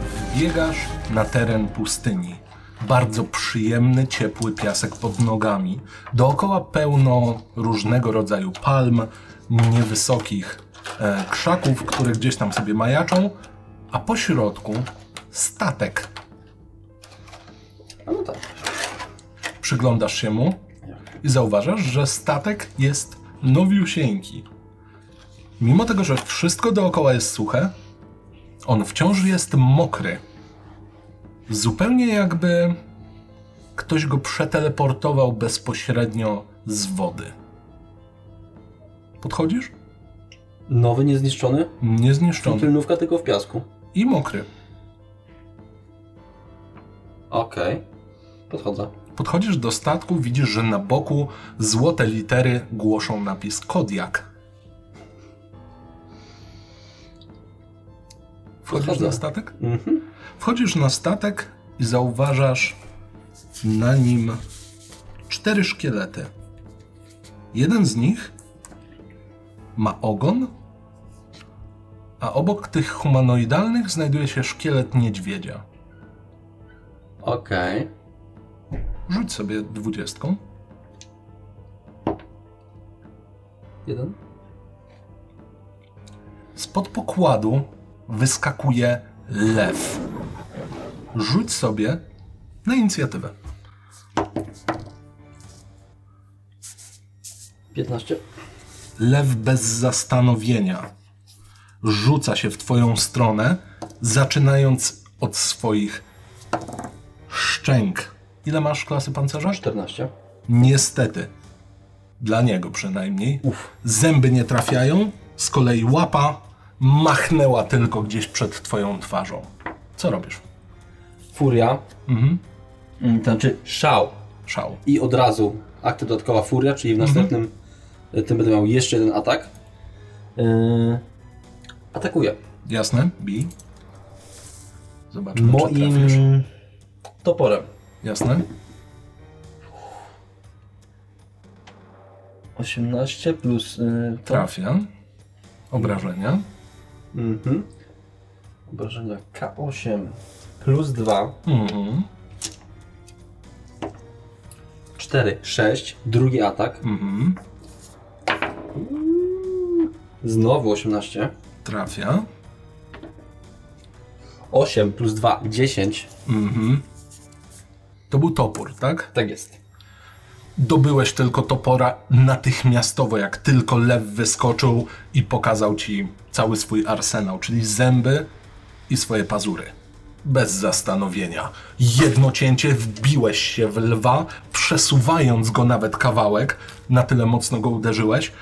wbiegasz na teren pustyni. Bardzo przyjemny, ciepły piasek pod nogami. Dookoła pełno różnego rodzaju palm, niewysokich e, krzaków, które gdzieś tam sobie majaczą, a po środku statek. A no tak. Przyglądasz się mu i zauważasz, że statek jest nowiusieńki. Mimo tego, że wszystko dookoła jest suche, on wciąż jest mokry. Zupełnie jakby ktoś go przeteleportował bezpośrednio z wody. Podchodzisz? Nowy, niezniszczony? Niezniszczony Tylnówka tylko w piasku. i mokry. Okej. Podchodzę. Podchodzisz do statku, widzisz, że na boku złote litery głoszą napis Kodiak. Wchodzisz Podchodzę. na statek? Mhm. Wchodzisz na statek i zauważasz na nim cztery szkielety. Jeden z nich ma ogon, a obok tych humanoidalnych znajduje się szkielet niedźwiedzia. Okej. Rzuć sobie dwudziestką. Jeden? Spod pokładu wyskakuje lew. Rzuć sobie na inicjatywę. 15. Lew bez zastanowienia rzuca się w twoją stronę, zaczynając od swoich szczęk. Ile masz klasy pancerza? 14. Niestety, dla niego przynajmniej, zęby nie trafiają, z kolei łapa machnęła tylko gdzieś przed twoją twarzą. Co robisz? Furia. Mhm. To znaczy szał. Szał. I od razu akty dodatkowa furia, czyli w następnym e, tym będę miał jeszcze jeden atak. Yy, atakuję. Jasne? Bij. Zobaczmy, Znaczy, czy trafisz. Moim toporem. Jasne? 18 plus. Yy, to- Trafia. Obrażenia. Mhm. Obrażenia K8 plus 2. Mhm. 4, 6. Drugi atak. Mhm. Znowu 18. Trafia. 8 plus 2, 10. Mhm. To był topór, tak? Tak jest. Dobyłeś tylko topora natychmiastowo, jak tylko lew wyskoczył i pokazał ci cały swój arsenał, czyli zęby i swoje pazury. Bez zastanowienia. Jedno cięcie wbiłeś się w lwa, przesuwając go nawet kawałek, na tyle mocno go uderzyłeś.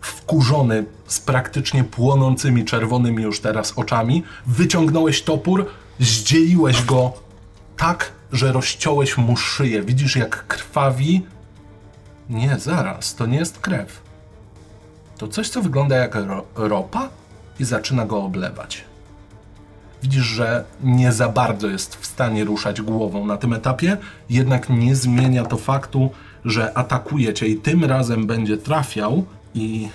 Wkurzony z praktycznie płonącymi czerwonymi już teraz oczami, wyciągnąłeś topór, zdzieliłeś go tak, że rozciąłeś mu szyję. Widzisz, jak krwawi. Nie, zaraz, to nie jest krew. To coś, co wygląda jak ro- ropa i zaczyna go oblewać. Widzisz, że nie za bardzo jest w stanie ruszać głową na tym etapie, jednak nie zmienia to faktu, że atakuje cię i tym razem będzie trafiał i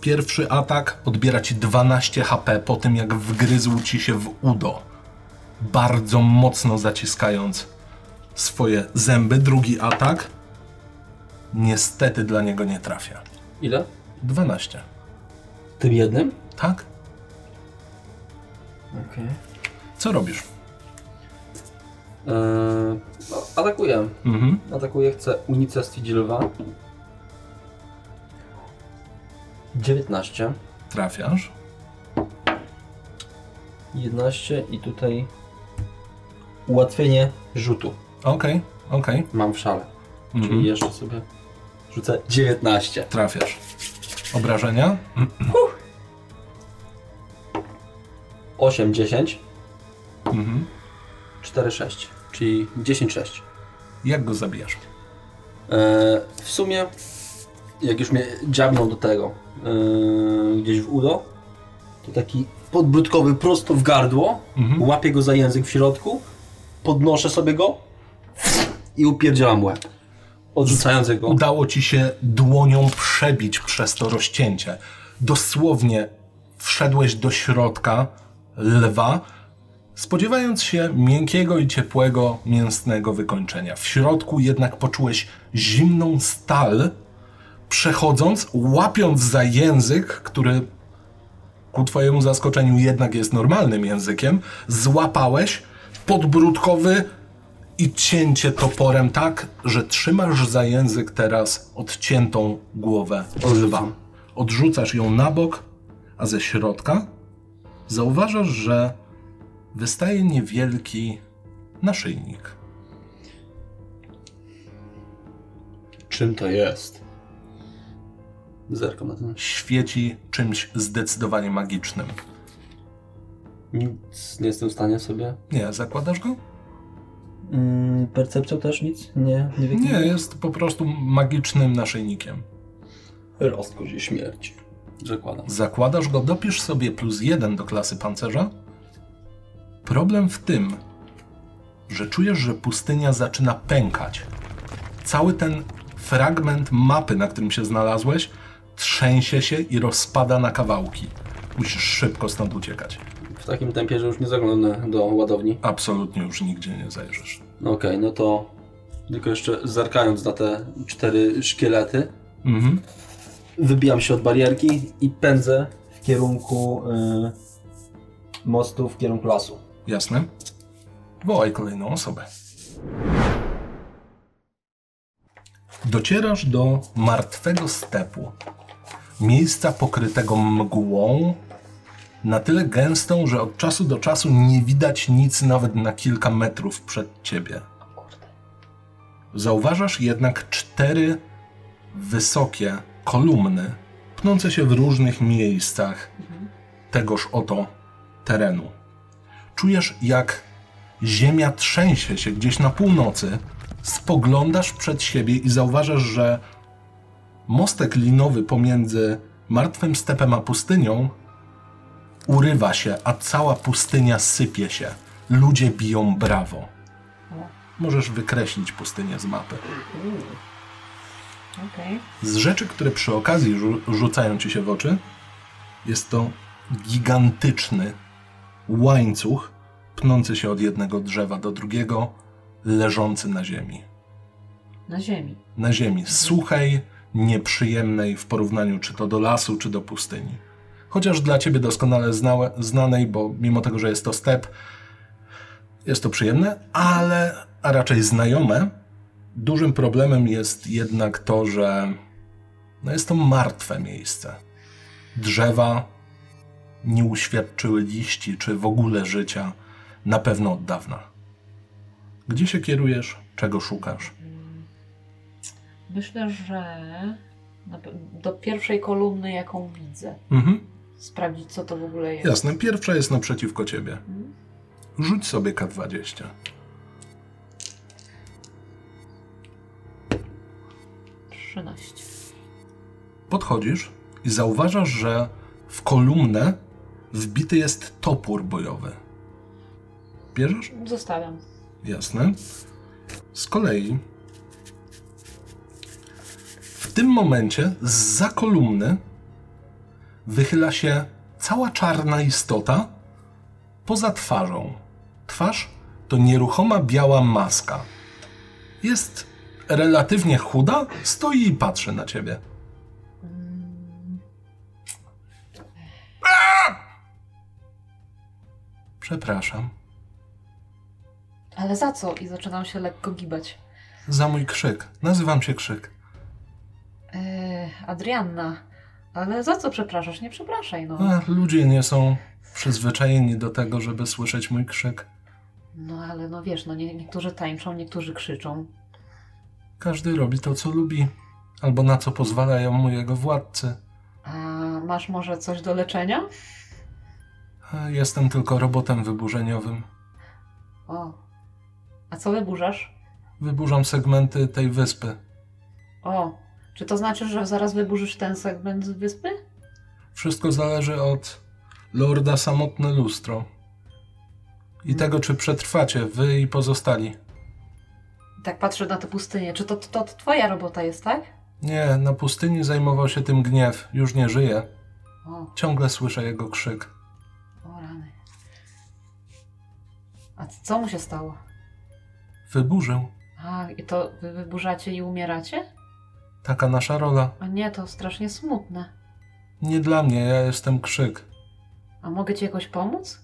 pierwszy atak odbiera ci 12 HP po tym, jak wgryzł ci się w udo bardzo mocno zaciskając swoje zęby. Drugi atak niestety dla niego nie trafia. Ile? 12. Tym jednym? Tak? Okej. Co robisz? Eee, no, atakuję. Mhm. Atakuję, chcę unicestwić lwa. 19, Trafiasz. 11 i tutaj ułatwienie rzutu Okej, okej. mam w szale. Mhm. Czyli jeszcze sobie rzucę 19. Trafiasz. Obrażenia? 8, 10, Mhm. 4, 6, czyli 10, 6. Jak go zabijasz? Eee, w sumie, jak już mnie dziabnął do tego eee, gdzieś w udo, to taki podbródkowy prosto w gardło, Mhm. łapię go za język w środku, podnoszę sobie go i upierdzielam łeb, odrzucając jego. Udało ci się dłonią przebić przez to rozcięcie. Dosłownie wszedłeś do środka lwa, spodziewając się miękkiego i ciepłego, mięsnego wykończenia. W środku jednak poczułeś zimną stal, przechodząc, łapiąc za język, który ku twojemu zaskoczeniu jednak jest normalnym językiem, złapałeś podbródkowy i cięcie toporem tak, że trzymasz za język teraz odciętą głowę lwa. Odrzucasz ją na bok, a ze środka zauważasz, że wystaje niewielki naszyjnik. Czym to jest? Zerkam na ten. Świeci czymś zdecydowanie magicznym. Nic nie jestem w stanie sobie. Nie, zakładasz go? Mm, percepcją też nic? Nie, nie Nie, jest po prostu magicznym naszyjnikiem. Rozkość i śmierć. Zakładam. Zakładasz go, dopisz sobie plus jeden do klasy pancerza. Problem w tym, że czujesz, że pustynia zaczyna pękać. Cały ten fragment mapy, na którym się znalazłeś, trzęsie się i rozpada na kawałki. Musisz szybko stąd uciekać. W takim tempie, że już nie zaglądam do ładowni. Absolutnie już nigdzie nie zajrzysz. No Okej, no to tylko jeszcze zerkając na te cztery szkielety, Mhm. wybijam się od barierki i pędzę w kierunku y, mostu, w kierunku lasu. Jasne? Wołaj kolejną osobę. Docierasz do martwego stepu. Miejsca pokrytego mgłą, na tyle gęstą, że od czasu do czasu nie widać nic nawet na kilka metrów przed ciebie. Zauważasz jednak cztery wysokie kolumny, pnące się w różnych miejscach tegoż oto terenu czujesz jak ziemia trzęsie się gdzieś na północy, spoglądasz przed siebie i zauważasz, że mostek linowy pomiędzy martwym stepem a pustynią urywa się, a cała pustynia sypie się. Ludzie biją brawo. Możesz wykreślić pustynię z mapy. Okej. Z rzeczy, które przy okazji rzu- rzucają ci się w oczy, jest to gigantyczny łańcuch pnący się od jednego drzewa do drugiego, leżący na ziemi. Na ziemi. Na ziemi suchej, nieprzyjemnej w porównaniu czy to do lasu, czy do pustyni. Chociaż dla ciebie doskonale znałe, znanej, bo mimo tego, że jest to step, jest to przyjemne, ale a raczej znajome. Dużym problemem jest jednak to, że no jest to martwe miejsce. Drzewa nie uświadczyły liści czy w ogóle życia na pewno od dawna. Gdzie się kierujesz? Czego szukasz? Mm. Myślę, że na pe- do pierwszej kolumny, jaką widzę, Mhm. sprawdzić, co to w ogóle jest. Jasne, pierwsza jest naprzeciwko ciebie. Mhm. Rzuć sobie K20. Trzynaście. Podchodzisz i zauważasz, że w kolumnę wbity jest topór bojowy. Bierzesz? Zostawiam. Jasne. Z kolei w tym momencie zza kolumny wychyla się cała czarna istota poza twarzą. Twarz to nieruchoma biała maska. Jest relatywnie chuda, stoi i patrzy na ciebie. Mm. Przepraszam Ale za co? I zaczynam się lekko gibać. za mój krzyk. Nazywam się Krzyk. Eee, Adrianna, ale za co przepraszasz? Nie przepraszaj, no. Ach, ludzie nie są przyzwyczajeni do tego, żeby słyszeć mój krzyk. No ale no wiesz, no nie, niektórzy tańczą, niektórzy krzyczą. Każdy robi to, co lubi, albo na co pozwalają mu jego władcy. A masz może coś do leczenia? A Jestem tylko robotem wyburzeniowym. O. A co wyburzasz? Wyburzam segmenty tej wyspy. O. Czy to znaczy, że zaraz wyburzysz ten segment z wyspy? Wszystko zależy od lorda samotne lustro. I tego, czy przetrwacie, wy i pozostali. Tak patrzę na tę pustynię. Czy to, to, to twoja robota jest, tak? Nie, na pustyni zajmował się tym gniew. Już nie żyje. O, Ciągle słyszę jego krzyk. o rany. A co mu się stało? Wyburzę. A, i to wy wyburzacie i umieracie? Taka nasza rola. A nie, to strasznie smutne. Nie dla mnie, ja jestem krzyk. A mogę ci jakoś pomóc?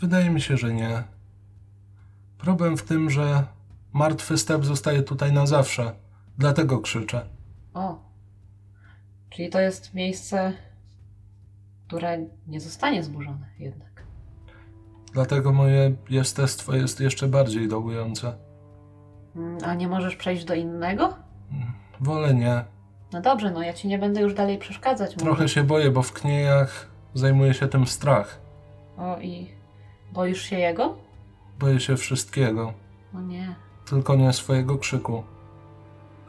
Wydaje mi się, że nie. Problem w tym, że martwy step zostaje tutaj na zawsze. Dlatego krzyczę. O. Czyli to jest miejsce, które nie zostanie zburzone jednak. Dlatego moje jestestwo jest jeszcze bardziej dołujące. Mm, A nie możesz przejść do innego? Wolę nie. No dobrze, no ja ci nie będę już dalej przeszkadzać. może. Trochę się boję, bo w kniejach zajmuje się tym strach. O i boisz się jego? Boję się wszystkiego, O nie. tylko nie swojego krzyku.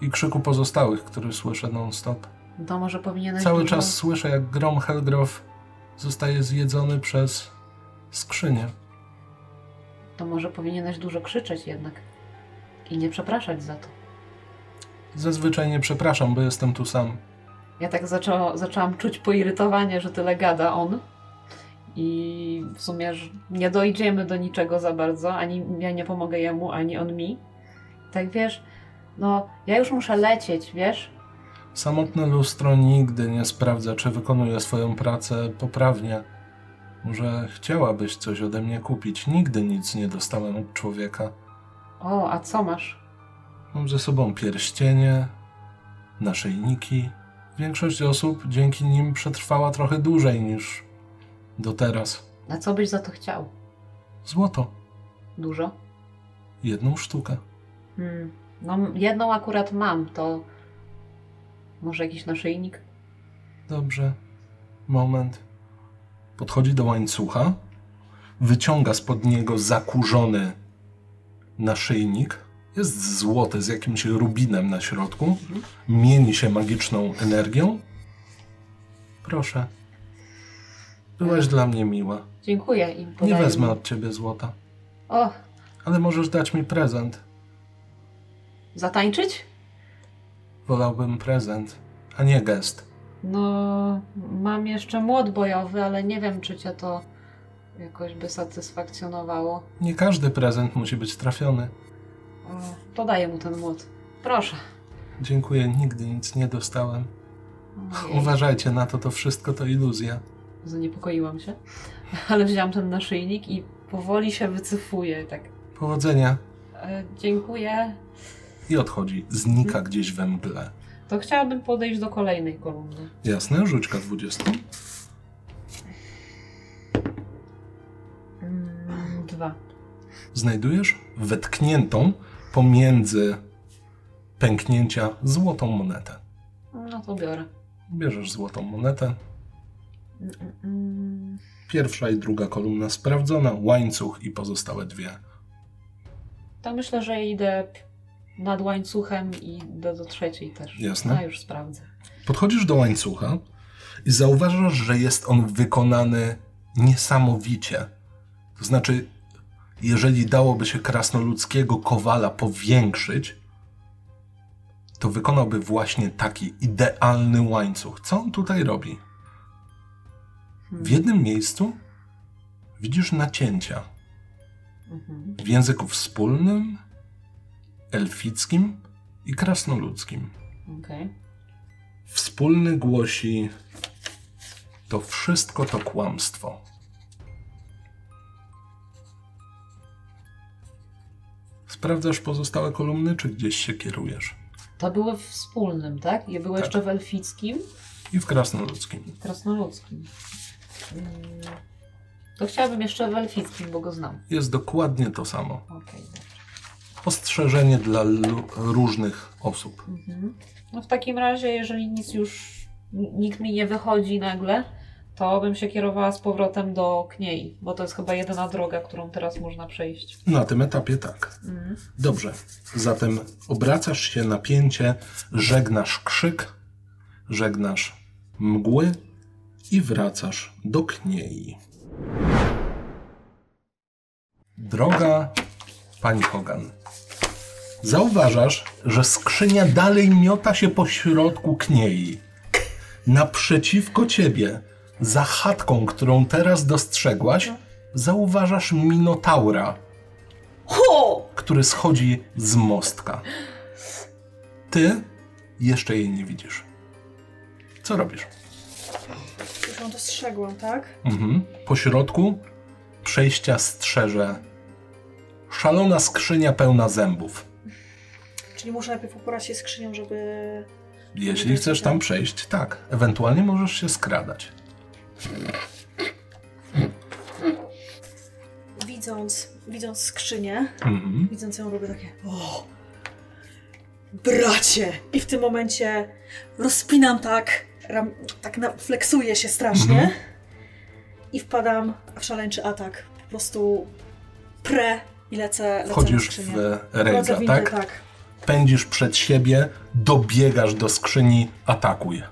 I krzyku pozostałych, który słyszę non-stop. To może powinieneś. Cały dużo- czas słyszę, jak grom Helgrof zostaje zjedzony przez skrzynię. To może powinieneś dużo krzyczeć jednak. I nie przepraszać za to. Zazwyczaj nie przepraszam, bo jestem tu sam. Ja tak zaczęła, zaczęłam czuć poirytowanie, że tyle gada on. I w sumie że nie dojdziemy do niczego za bardzo, ani ja nie pomogę jemu, ani on mi. Tak wiesz, no ja już muszę lecieć, wiesz? Samotne lustro nigdy nie sprawdza, czy wykonuje swoją pracę poprawnie. Może chciałabyś coś ode mnie kupić? Nigdy nic nie dostałem od człowieka. O, a co masz? Mam ze sobą pierścienie, naszyjniki. Większość osób dzięki nim przetrwała trochę dłużej niż do teraz. Na co byś za to chciał? Złoto. Dużo? Jedną sztukę. Hmm. No m- jedną akurat mam, to może jakiś naszyjnik? Dobrze. Moment. Podchodzi do łańcucha, wyciąga spod niego zakurzony naszyjnik. Jest złoty z jakimś rubinem na środku. Mieni się magiczną energią. Proszę. Byłaś dla mnie miła. Dziękuję im. Nie podaję wezmę mu. od ciebie złota, O, ale możesz dać mi prezent. zatańczyć? Wolałbym prezent, a nie gest. No, mam jeszcze młot bojowy, ale nie wiem, czy cię to jakoś by satysfakcjonowało. Nie każdy prezent musi być trafiony. O, To daję mu ten młot. Proszę. Dziękuję, nigdy nic nie dostałem. Ojej, Uważajcie na to, to wszystko to iluzja. Zaniepokoiłam się, ale wzięłam ten naszyjnik i powoli się wycyfuję. Tak. Powodzenia. E, dziękuję. I odchodzi, znika gdzieś we mgle. To chciałabym podejść do kolejnej kolumny. Jasne, rzućka 20. Mm, dwa. Znajdujesz wetkniętą pomiędzy pęknięcia złotą monetę. No to biorę. Bierzesz złotą monetę. Mm, mm, mm. Pierwsza i druga kolumna sprawdzona, łańcuch i pozostałe dwie. To myślę, że idę nad łańcuchem i idę do trzeciej też. Jasne. A już sprawdzę. Podchodzisz do łańcucha i zauważasz, że jest on wykonany niesamowicie. To znaczy, jeżeli dałoby się krasnoludzkiego kowala powiększyć, to wykonałby właśnie taki idealny łańcuch. Co on tutaj robi? Hmm. W jednym miejscu widzisz nacięcia. Mhm. w języku wspólnym, elfickim i krasnoludzkim. Okej. Wspólny głosi: To wszystko to kłamstwo. Sprawdzasz pozostałe kolumny, czy gdzieś się kierujesz? To było w wspólnym, tak? I było Tak. jeszcze w elfickim, I w krasnoludzkim. krasnoludzkim. Mm, To chciałabym jeszcze w elfickim, bo go znam. Jest dokładnie to samo. Okej, tak. dobrze. Ostrzeżenie dla lu- różnych osób. Mhm. No w takim razie, jeżeli nic już, n- nikt mi nie wychodzi nagle, to bym się kierowała z powrotem do Kniei, bo to jest chyba jedyna droga, którą teraz można przejść. Na tym etapie tak. Mhm. Dobrze, zatem obracasz się na pięcie, żegnasz krzyk, żegnasz mgły i wracasz do kniei. Droga pani Hogan, zauważasz, że skrzynia dalej miota się po środku kniei. Naprzeciwko ciebie, za chatką, którą teraz dostrzegłaś, zauważasz minotaura, Ho! który schodzi z mostka. Ty jeszcze jej nie widzisz. Co robisz? Już ją dostrzegłam, tak? Mhm. Po środku przejścia strzeże szalona skrzynia pełna zębów. Czyli muszę najpierw uporać się skrzynią, żeby... Jeśli chcesz tam przejść, tak. Ewentualnie możesz się skradać. Widząc, widząc skrzynię, Mhm. widząc ją, robię takie... O! Bracie! I w tym momencie rozpinam tak, ram, tak na, fleksuję się strasznie Mhm. i wpadam w szaleńczy atak. Po prostu pre i lecę, lecę na Wchodzisz skrzynię. w Wchodzę rage'a, w tak? tak? tak. Pędzisz przed siebie, dobiegasz do skrzyni, atakuj.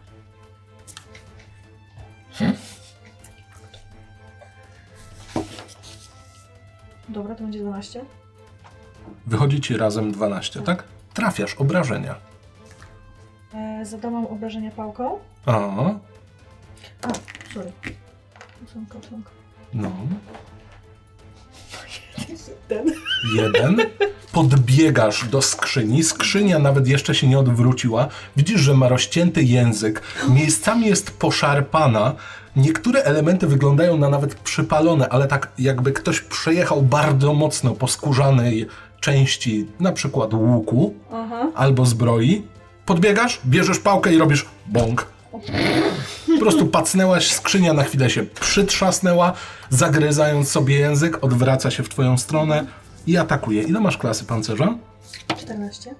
Dobra, to będzie 12. Wychodzi ci razem 12, tak? Trafiasz, obrażenia. E, zadałam obrażenia pałką. A, A, sorry. Ósemka, ósemka. no. Ten. Jeden. Podbiegasz do skrzyni. Skrzynia nawet jeszcze się nie odwróciła. Widzisz, że ma rozcięty język. Miejscami jest poszarpana. Niektóre elementy wyglądają na nawet przypalone, ale tak jakby ktoś przejechał bardzo mocno po skórzanej części, na przykład łuku Aha. albo zbroi. Podbiegasz, bierzesz pałkę i robisz bąk. Po prostu pacnęłaś, skrzynia na chwilę się przytrzasnęła, zagryzając sobie język, odwraca się w twoją stronę i atakuje. Ile masz klasy pancerza? 14.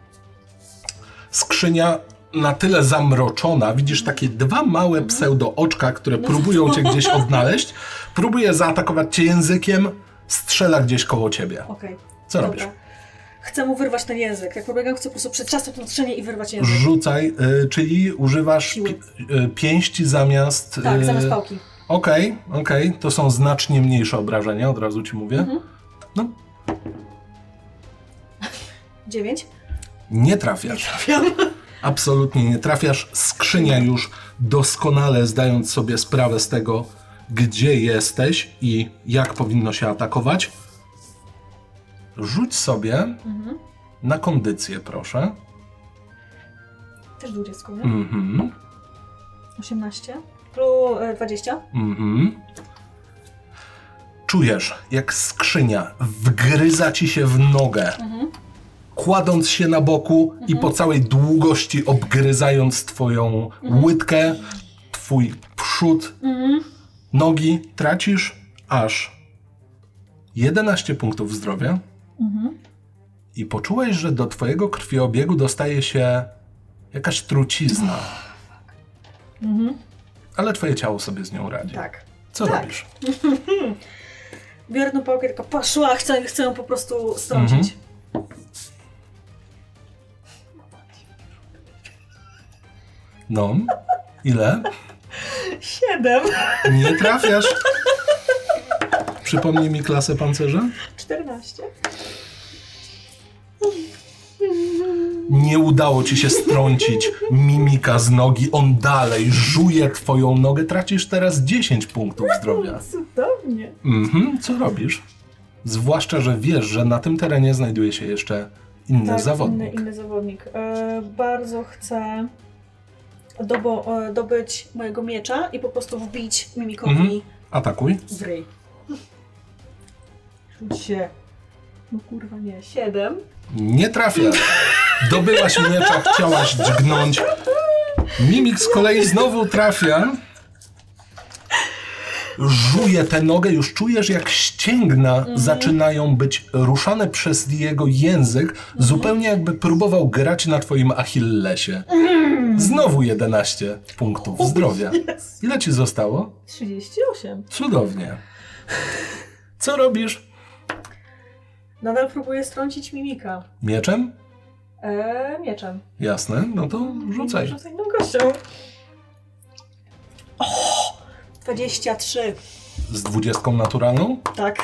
Skrzynia na tyle zamroczona, widzisz takie dwa małe pseudo-oczka, które próbują cię gdzieś odnaleźć, próbuje zaatakować cię językiem, strzela gdzieś koło ciebie. Okej. Co robisz? Chcę mu wyrwać ten język. Jak pobiegam, chcę po prostu przetrzasnąć tą skrzynię i wyrwać język. Rzucaj, y, czyli używasz Siły. pi- y, pięści zamiast... Tak, y, zamiast pałki. Okej, okej, to są znacznie mniejsze obrażenia, od razu ci mówię. No, 9. nie trafiasz. Trafiam. Absolutnie nie trafiasz. Skrzynia już doskonale zdając sobie sprawę z tego, gdzie jesteś i jak powinno się atakować. Rzuć sobie Mhm. na kondycję, proszę. Też 20, nie? Mhm, 18. Plus e, 20. mhm. Czujesz, jak skrzynia wgryza ci się w nogę. Mhm. kładąc się na boku i po całej długości obgryzając twoją łydkę, twój przód, Mhm. nogi, tracisz aż 11 punktów zdrowia Mhm. i poczułeś, że do twojego krwiobiegu dostaje się jakaś trucizna, Mhm. ale twoje ciało sobie z nią radzi. Tak. Co Tak. robisz? Biorę tą pałkę, tylko poszła, chcę, chcę ją po prostu strącić. Mhm. No, ile? Siedem. Nie trafiasz. Przypomnij mi klasę pancerza. 14. Nie udało ci się strącić mimika z nogi, on dalej żuje twoją nogę, tracisz teraz 10 punktów zdrowia. Cudownie. Mhm, co robisz? Zwłaszcza, że wiesz, że na tym terenie znajduje się jeszcze inny Tak, zawodnik. Inny, inny zawodnik. E, bardzo chcę dobo, e, dobyć mojego miecza i po prostu wbić mimikowi Mhm. Atakuj. w ryj. Rzuć się. No kurwa nie. Siedem. Nie trafiasz. Dobyłaś miecza, chciałaś dźgnąć. Mimik z kolei znowu trafia. Żuje tę nogę, już czujesz jak ścięgna zaczynają być ruszane przez jego język, zupełnie jakby próbował grać na twoim Achillesie. Znowu 11 punktów zdrowia. Ile ci zostało? 38. Cudownie. Co robisz? Nadal próbuję strącić mimika. Mieczem? E, mieczem. Jasne, no to rzucaj. Rzucaj inną kością. O! 23. Z dwudziestką naturalną? Tak.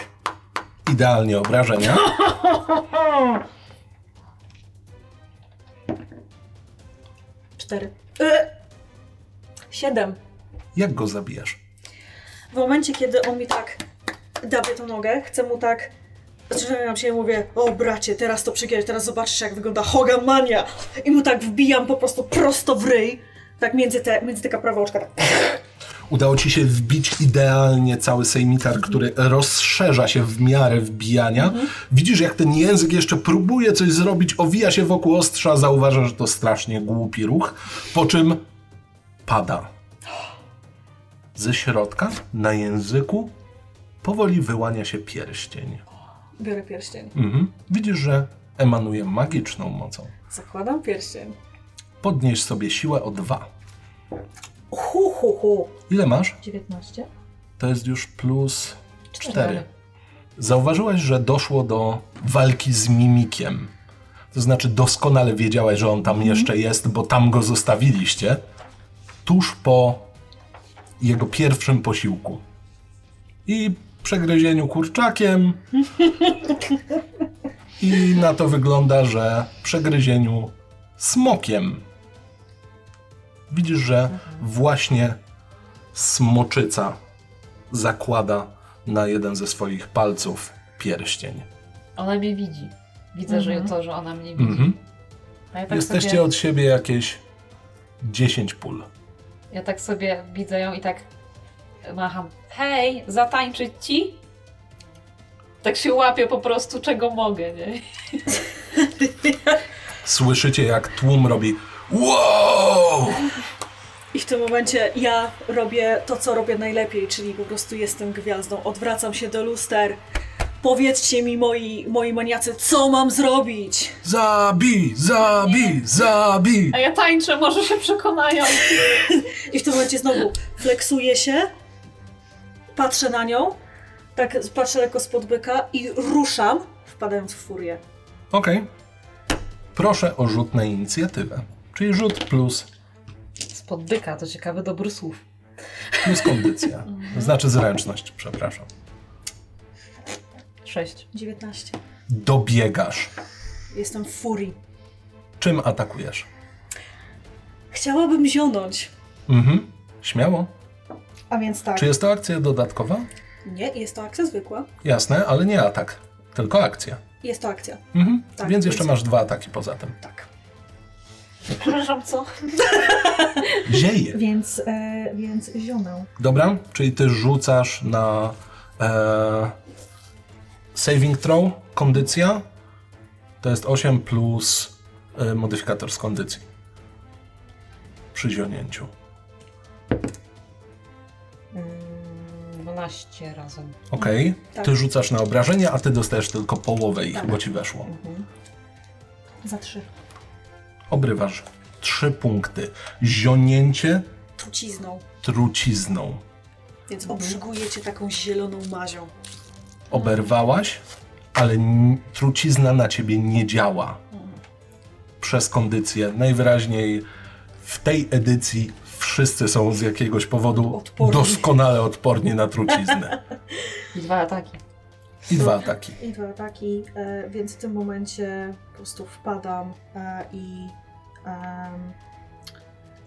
Idealnie obrażenia. O! 4. E, 7. Jak go zabijasz? W momencie, kiedy on mi tak dawię tą nogę, chcę mu tak... Zaczynam się i mówię, o bracie, teraz to przegięć, teraz zobaczysz jak wygląda Hogamania! I mu tak wbijam po prostu prosto w ryj, tak między te, między te prawa oczka, tak Udało ci się wbić idealnie cały sejmitar, który rozszerza się w miarę wbijania. Widzisz, jak ten język jeszcze próbuje coś zrobić, owija się wokół ostrza, zauważa, że to strasznie głupi ruch, po czym pada. Ze środka, na języku, powoli wyłania się pierścień. biorę pierścień. Mhm. Widzisz, że emanuje magiczną mocą. Zakładam pierścień. Podnieś sobie siłę o dwa. Hu, hu, hu. Ile masz? 19? To jest już plus Cztery. cztery. Zauważyłaś, że doszło do walki z mimikiem. To znaczy, doskonale wiedziałaś, że on tam jeszcze jest, bo tam go zostawiliście tuż po jego pierwszym posiłku. I przegryzieniu kurczakiem. I na to wygląda, że przegryzieniu smokiem. Widzisz, że właśnie smoczyca zakłada na jeden ze swoich palców pierścień. Ona mnie widzi. Widzę, że Mhm. to, że ona mnie widzi. Mhm. A ja tak, Jesteście sobie, od siebie jakieś 10 pól. ja tak sobie widzę ją i tak macham. Hej, zatańczyć ci? Tak się łapię po prostu, czego mogę, nie? Słyszycie, jak tłum robi wow! I w tym momencie ja robię to, co robię najlepiej, czyli po prostu jestem gwiazdą. Odwracam się do luster. Powiedzcie mi, moi, moi maniacy, co mam zrobić? Zabij, zabij, zabij! A ja tańczę, może się przekonają. I w tym momencie znowu fleksuję się, patrzę na nią, tak patrzę lekko spod byka i ruszam, wpadając w furię. Okej. Proszę o rzut na inicjatywę. Czyli rzut plus, Spod byka, to ciekawy dobór słów. plus kondycja. Mhm. Znaczy zręczność, przepraszam. Sześć. 19. Dobiegasz. Jestem w furii. Czym atakujesz? Chciałabym zionąć. Mhm. Śmiało. A więc tak. Czy jest to akcja dodatkowa? Nie, jest to akcja zwykła. Jasne, ale nie atak. Tylko akcja. Jest to akcja. Mhm. Tak, Więc jeszcze więc- masz dwa ataki poza tym. Tak. Przepraszam, co? Zieje. Więc, e, więc zionę. Dobra, czyli ty rzucasz na e, saving throw, kondycja. To jest 8 plus e, modyfikator z kondycji. Przy zionięciu. 12 razem. Okej, Tak. ty rzucasz na obrażenia, a ty dostajesz tylko połowę ich, bo ci weszło. Za trzy. Obrywasz 3 punkty. Zionięcie Trucizną. trucizną. Więc obrzyguję cię taką zieloną mazią. oberwałaś, ale n- trucizna na ciebie nie działa. Przez kondycję. Najwyraźniej w tej edycji wszyscy są z jakiegoś powodu Odporni. doskonale odporni na truciznę. I dwa ataki. I dwa ataki. I dwa ataki, e, więc w tym momencie po prostu wpadam e, i em,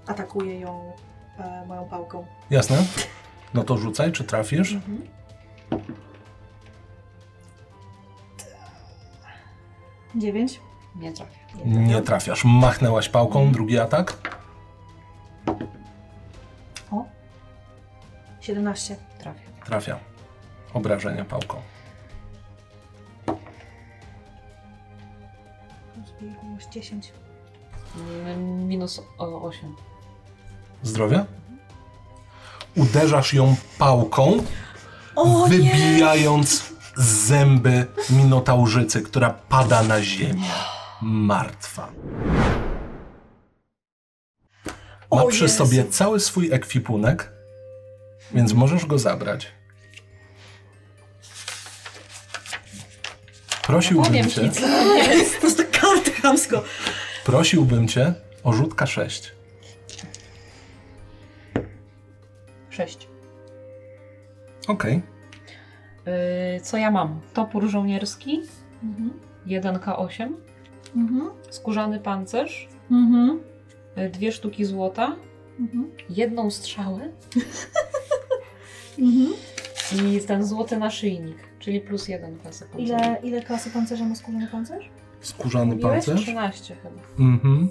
atakuję ją e, moją pałką. Jasne? No to rzucaj, czy trafisz? Dziewięć. Nie trafię. Nie trafiasz. Machnęłaś pałką, drugi atak. 17. Trafię. Trafia. Obrażenia pałką. Zbiegłość 10. Mm, Minus o 8. Zdrowia? Uderzasz ją pałką. O nie! wybijając zęby minotaurzycy, która pada na ziemię. Martwa. Ma O przy Jezu. sobie cały swój ekwipunek, więc możesz go zabrać. Prosiłbym Powiem cię, ci, co to jest. Po prostu kartę chamsko. prosiłbym cię o rzut K6. Sześć. Okej. Yy, co ja mam? Topór żołnierski. Mhm. 1K8. Mhm. Skórzany pancerz. Mhm. y, Dwie sztuki złota. Mhm. Jedną strzałę. Mhm. I ten złoty naszyjnik, czyli plus jeden klasy Ile, ile klasy pancerza ma skórzany pancerz? Skórzany Miałeś pancerz? 13 chyba. Mhm.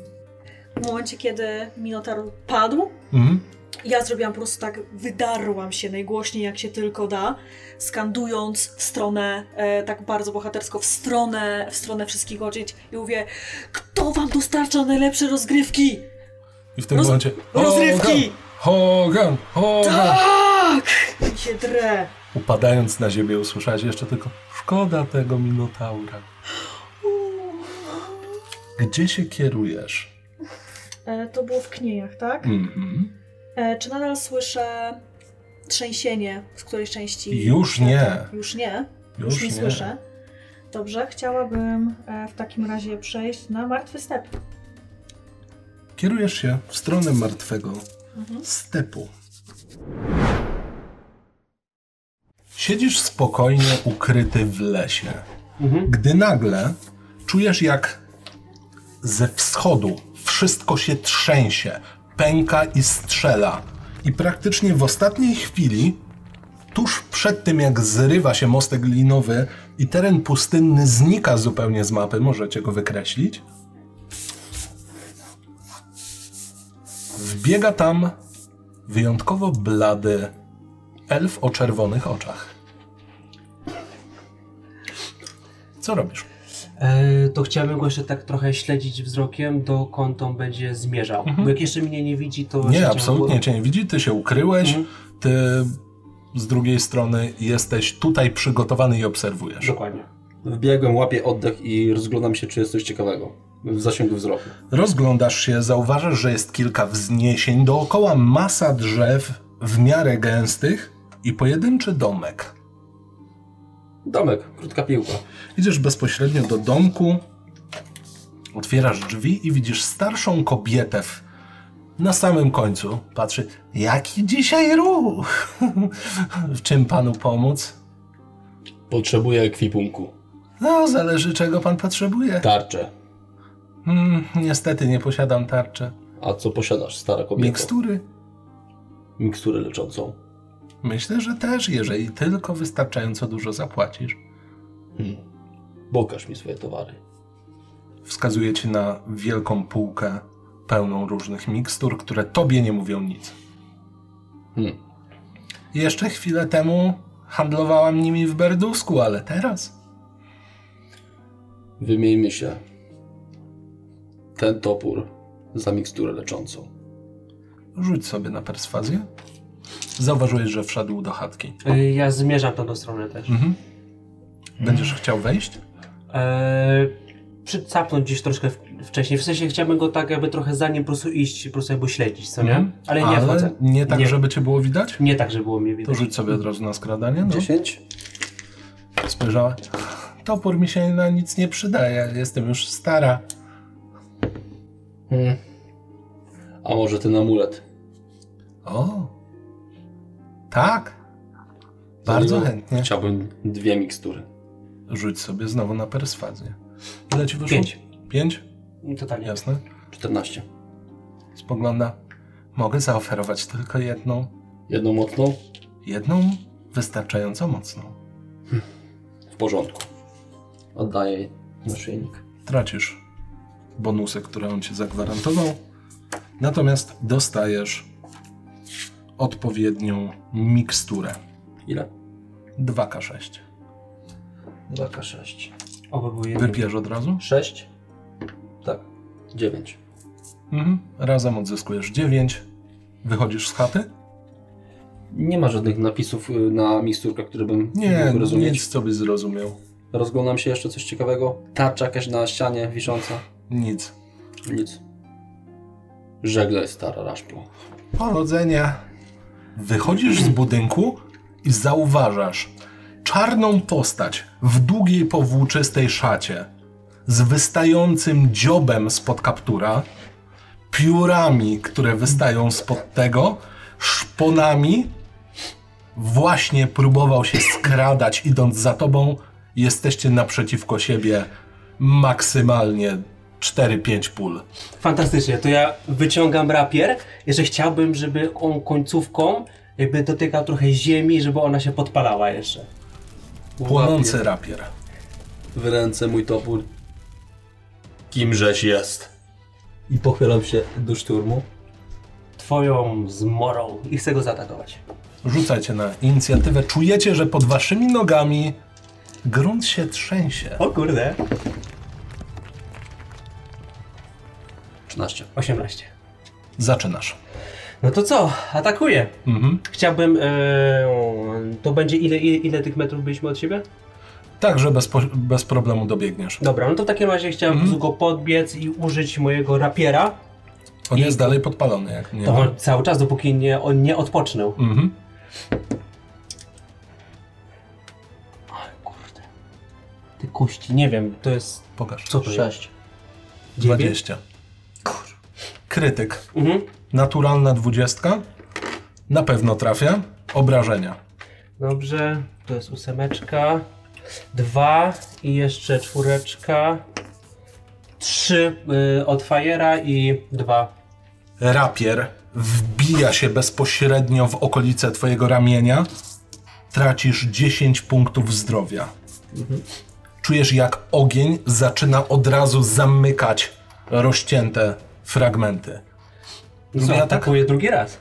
W momencie, kiedy Minotaur padł, Mhm. ja zrobiłam po prostu tak, wydarłam się najgłośniej jak się tylko da, skandując w stronę, e, tak bardzo bohatersko, w stronę, w stronę wszystkich odzieć i mówię, kto wam dostarcza najlepsze rozgrywki? I w tym Roz- momencie... Rozrywki! Hogan! Hogan! Hogan! Tak! I się drę. Upadając na ziemię usłyszałeś jeszcze tylko Szkoda tego Minotaura. Gdzie się kierujesz? E, To było w kniejach, tak? Mhm. E, czy nadal słyszę trzęsienie z której części? Już nie. Już nie? Już, nie, nie. słyszę. Dobrze, chciałabym e, w takim razie przejść na martwy step. Kierujesz się w stronę martwego Mhm. stepu. Siedzisz spokojnie ukryty w lesie, Mhm. gdy nagle czujesz jak ze wschodu wszystko się trzęsie, pęka i strzela. I praktycznie w ostatniej chwili, tuż przed tym jak zrywa się mostek linowy i teren pustynny znika zupełnie z mapy, możecie go wykreślić, wbiega tam wyjątkowo blady elf o czerwonych oczach. Co robisz? E, to chciałbym go jeszcze tak trochę śledzić wzrokiem, dokąd on będzie zmierzał. Bo jak jeszcze mnie nie widzi, to... Nie, jeszcze absolutnie chciałbym- cię nie widzi, ty się ukryłeś, Mhm. ty z drugiej strony jesteś tutaj przygotowany i obserwujesz. Dokładnie. Wbiegłem, łapię oddech i rozglądam się, czy jest coś ciekawego. W zasięgu wzroku. Rozglądasz się, zauważasz, że jest kilka wzniesień, dookoła masa drzew w miarę gęstych i pojedynczy domek. Domek, krótka piłka. Idziesz bezpośrednio do domku, otwierasz drzwi i widzisz starszą kobietę w, na samym końcu. Patrzy, jaki dzisiaj ruch? w czym panu pomóc? Potrzebuję ekwipunku. No, zależy czego pan potrzebuje. Tarczę. Mm, niestety nie posiadam tarczy. A co posiadasz, stara kobieta? Mikstury? Miksturę leczącą. Myślę, że też, jeżeli tylko wystarczająco dużo zapłacisz. Hmm. Pokaż mi swoje towary. Wskazuje ci na wielką półkę pełną różnych mikstur, które tobie nie mówią nic. Hmm. Jeszcze chwilę temu handlowałam nimi w Berdusku, ale teraz? Wymieńmy się. Ten topór za miksturę leczącą. Rzuć sobie na perswazję. Zauważyłeś, że wszedł do chatki. E, ja zmierzam tam do strony też. Mhm. Będziesz chciał wejść? E, przycapnąć gdzieś troszkę w, wcześniej. W sensie chciałbym go tak jakby trochę za nim po prostu iść, po prostu jakby śledzić, co nie? Mhm. Ale nie wchodzę. nie tak, Nie. żeby cię było widać? Nie tak, żeby było mnie To widać. rzuć sobie od razu na skradanie. No. 10? Spojrzała. Topór mi się na nic nie przydaje, jestem już stara. Mhm. Hmm. A może ten amulet? O, tak. Za Bardzo niego chętnie. Chciałbym dwie mikstury. Rzuć sobie znowu na perswazję. Ile ci wyszło? Pięć. Pięć? Totalnie. Jasne. 14. Spogląda. Mogę zaoferować tylko jedną. Jedną mocną? Jedną wystarczająco mocną. W porządku. Oddaję jej naszyjnik. Tracisz bonusy, które on ci zagwarantował. Natomiast dostajesz odpowiednią miksturę. Ile? 2K6. 2K6. Oby były jednym. Wypierz od razu. 6? Tak. 9. Mhm. Razem odzyskujesz 9. Wychodzisz z chaty? Nie ma żadnych napisów y, na miksturkach, które bym Nie, no mógł rozumieć. nic co byś zrozumiał. Rozglądam się jeszcze coś ciekawego. Tarcza jakaś na ścianie wisząca. Nic. Nic. Żegla jest stara raszpla. Powodzenia. Wychodzisz z budynku i zauważasz czarną postać w długiej powłóczystej szacie z wystającym dziobem spod kaptura, piórami, które wystają spod tego, szponami. Właśnie próbował się skradać idąc za tobą. Jesteście naprzeciwko siebie maksymalnie 4-5 pól. Fantastycznie, to ja wyciągam rapier. Jeszcze chciałbym, żeby on końcówką jakby dotykał trochę ziemi, żeby ona się podpalała jeszcze. Płonący rapier. W ręce mój topór. Kimżeś jest? I pochylam się do szturmu. Twoją zmorą i chcę go zaatakować. Rzucajcie na inicjatywę. Czujecie, że pod waszymi nogami grunt się trzęsie. O kurde. 13. 18. Zaczynasz. No to co? Atakuję. Mhm. Chciałbym. e, to będzie ile, ile, ile tych metrów byliśmy od siebie? Tak, że bez, po- bez problemu dobiegniesz. Dobra, no to w takim razie chciałem Mhm. mm. go podbiec i użyć mojego rapiera. On I- jest dalej podpalony, jak nie. To on cały czas, dopóki nie, on nie odpocznął. Mhm. Ale kurde. Ty kości, nie wiem, to jest. Pokaż. Co to jest? 6. 20. Krytyk. Mhm. Naturalna 20. Na pewno trafia. Obrażenia. Dobrze, to jest ósemeczka. Dwa i jeszcze czwóreczka. Trzy y, od fajera i dwa. Rapier wbija się bezpośrednio w okolice twojego ramienia. Tracisz 10 punktów zdrowia. Czujesz, jak ogień zaczyna od razu zamykać rozcięte fragmenty. No co, atak? tak? atakuję drugi raz.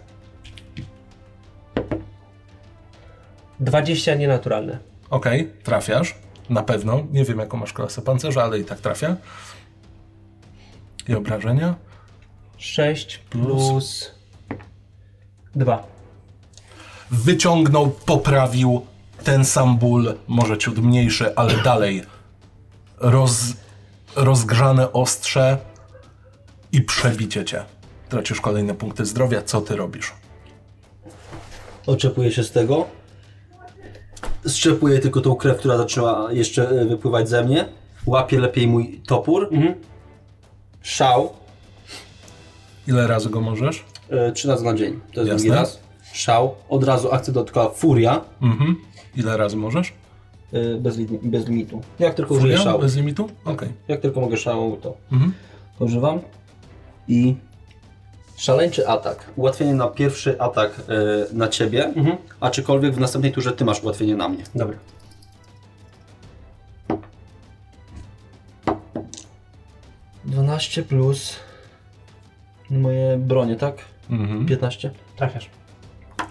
20 nienaturalne. Okej, trafiasz. Na pewno. Nie wiem, jaką masz klasę pancerza, ale i tak trafia. I obrażenia. 6 Plus. plus 2. wyciągnął, poprawił ten sam ból, może ciut mniejszy, ale dalej roz, rozgrzane ostrze i przebicie cię. Tracisz kolejne punkty zdrowia, co ty robisz? Oczepuję się z tego. Strzepuję tylko tą krew, która zaczęła jeszcze e, wypływać ze mnie. Łapię lepiej mój topór. Szał. Ile razy go możesz? E, Trzy razy na dzień. To jest Jasne. drugi raz. Szał. Od razu akcja dodatkowa Furia. Mhm. Ile razy możesz? E, Bez, lim- bez limitu. Jak tylko użyję Furia? szału. Bez limitu? Okej. Jak tylko mogę szału, to Mhm. używam. I szaleńczy atak. Ułatwienie na pierwszy atak e, na ciebie, a czykolwiek w następnej turze ty masz ułatwienie na mnie. Dobra. Dwanaście plus moje bronie, tak? Mhm. 15. Trafiasz.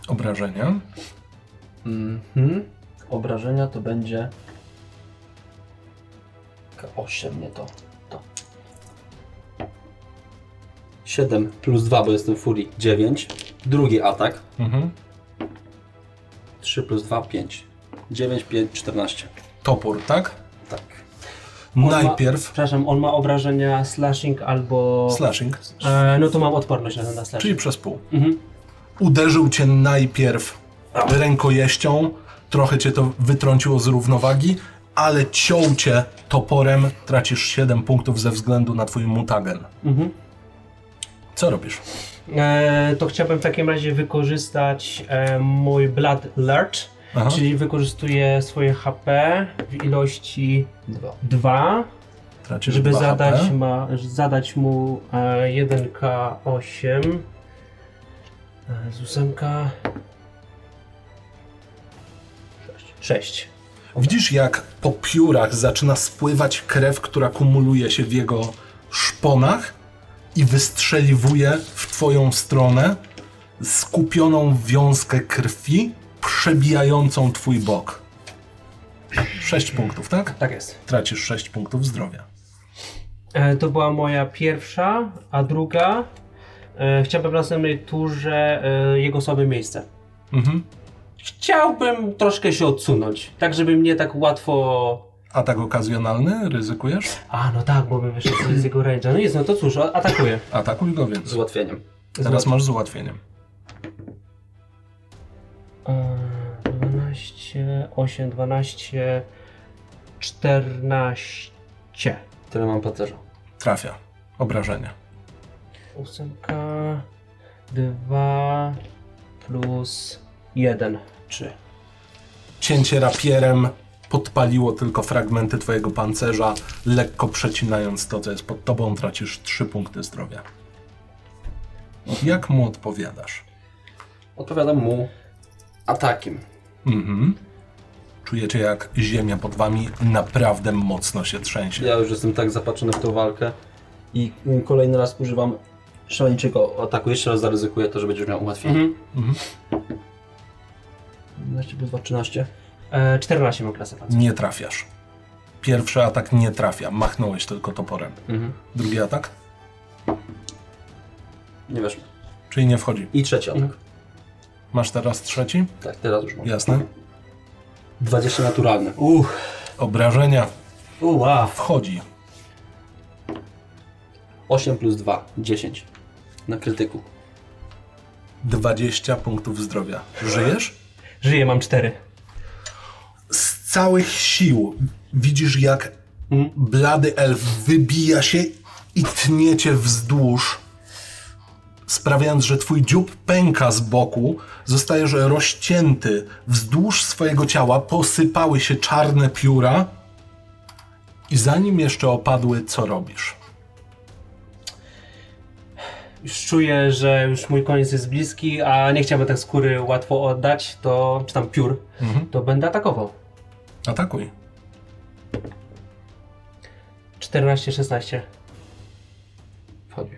Obrażenia. Mhm. Obrażenia to będzie. 8, nie to. to. 7 plus 2, bo jestem w furii. 9. Drugi atak. Mhm. 3 plus 2, 5. 9, 5, 14. Topór, tak? Tak. Najpierw Przepraszam, on ma obrażenia slashing albo. slashing, E, no to mam odporność na ten na slashing. czyli przez pół. Mhm. uderzył cię najpierw rękojeścią, trochę cię to wytrąciło z równowagi, ale ciął cię toporem, tracisz 7 punktów ze względu na twój mutagen. Mhm. Co robisz? E, to chciałbym w takim razie wykorzystać e, mój Blood Lurch, Aha. czyli wykorzystuję swoje HP w ilości 2. 2, Tracisz żeby dwa zadać, HP. ma, zadać mu e, 1K8 e, z 8 6. Widzisz, jak po piórach zaczyna spływać krew, która kumuluje się w jego szponach i wystrzeliwuje w twoją stronę skupioną wiązkę krwi, przebijającą twój bok. 6 punktów, tak? Tak jest. tracisz 6 punktów zdrowia. E, To była moja pierwsza, a druga. E, chciałbym w następnej turze e, jego słabe miejsce. Mhm. Chciałbym troszkę się odsunąć, tak żeby mnie tak łatwo. Atak okazjonalny, ryzykujesz? A no tak, bo bym wyszedł z jego range'a. No jest, no to cóż, a- atakuję. Atakuj go Z więc. ułatwieniem. Teraz masz z ułatwieniem. E, 12, 8, 12, 14. Tyle mam pancerza. Trafia. Obrażenia. Ósemka, 2 plus 1, 3. Cięcie rapierem podpaliło tylko fragmenty twojego pancerza, lekko przecinając to, co jest pod tobą, tracisz 3 punkty zdrowia. Jak mu odpowiadasz? Odpowiadam mu atakiem. Mhm. Czujecie, jak ziemia pod wami naprawdę mocno się trzęsie. Ja już jestem tak zapatrzony w tą walkę i mm, kolejny raz używam szaleńczego ataku. Jeszcze raz zaryzykuję to, że będziesz miał ułatwienie. Mhm. 11 plus 2, 13. E, 14 mam klasę pancerza. Nie trafiasz. Pierwszy atak nie trafia, machnąłeś tylko toporem. Mhm. Drugi atak? Nie wiesz. Czyli nie wchodzi. I trzeci atak. Mhm. Masz teraz trzeci? Tak, teraz już mam. Jasne. 20 naturalne. Uch. Obrażenia. Uła. Wchodzi. 8 plus 2, 10. Na krytyku. 20 punktów zdrowia. Żyjesz? Żyję, mam 4. z całych sił widzisz, jak blady elf wybija się i tniecie wzdłuż, sprawiając, że twój dziób pęka z boku, zostajesz rozcięty wzdłuż swojego ciała, posypały się czarne pióra i zanim jeszcze opadły, co robisz? Już czuję, że już mój koniec jest bliski, a nie chciałbym tak skóry łatwo oddać, to, czy tam piór, to będę atakował. Atakuj. 14, 16. Wchodzi.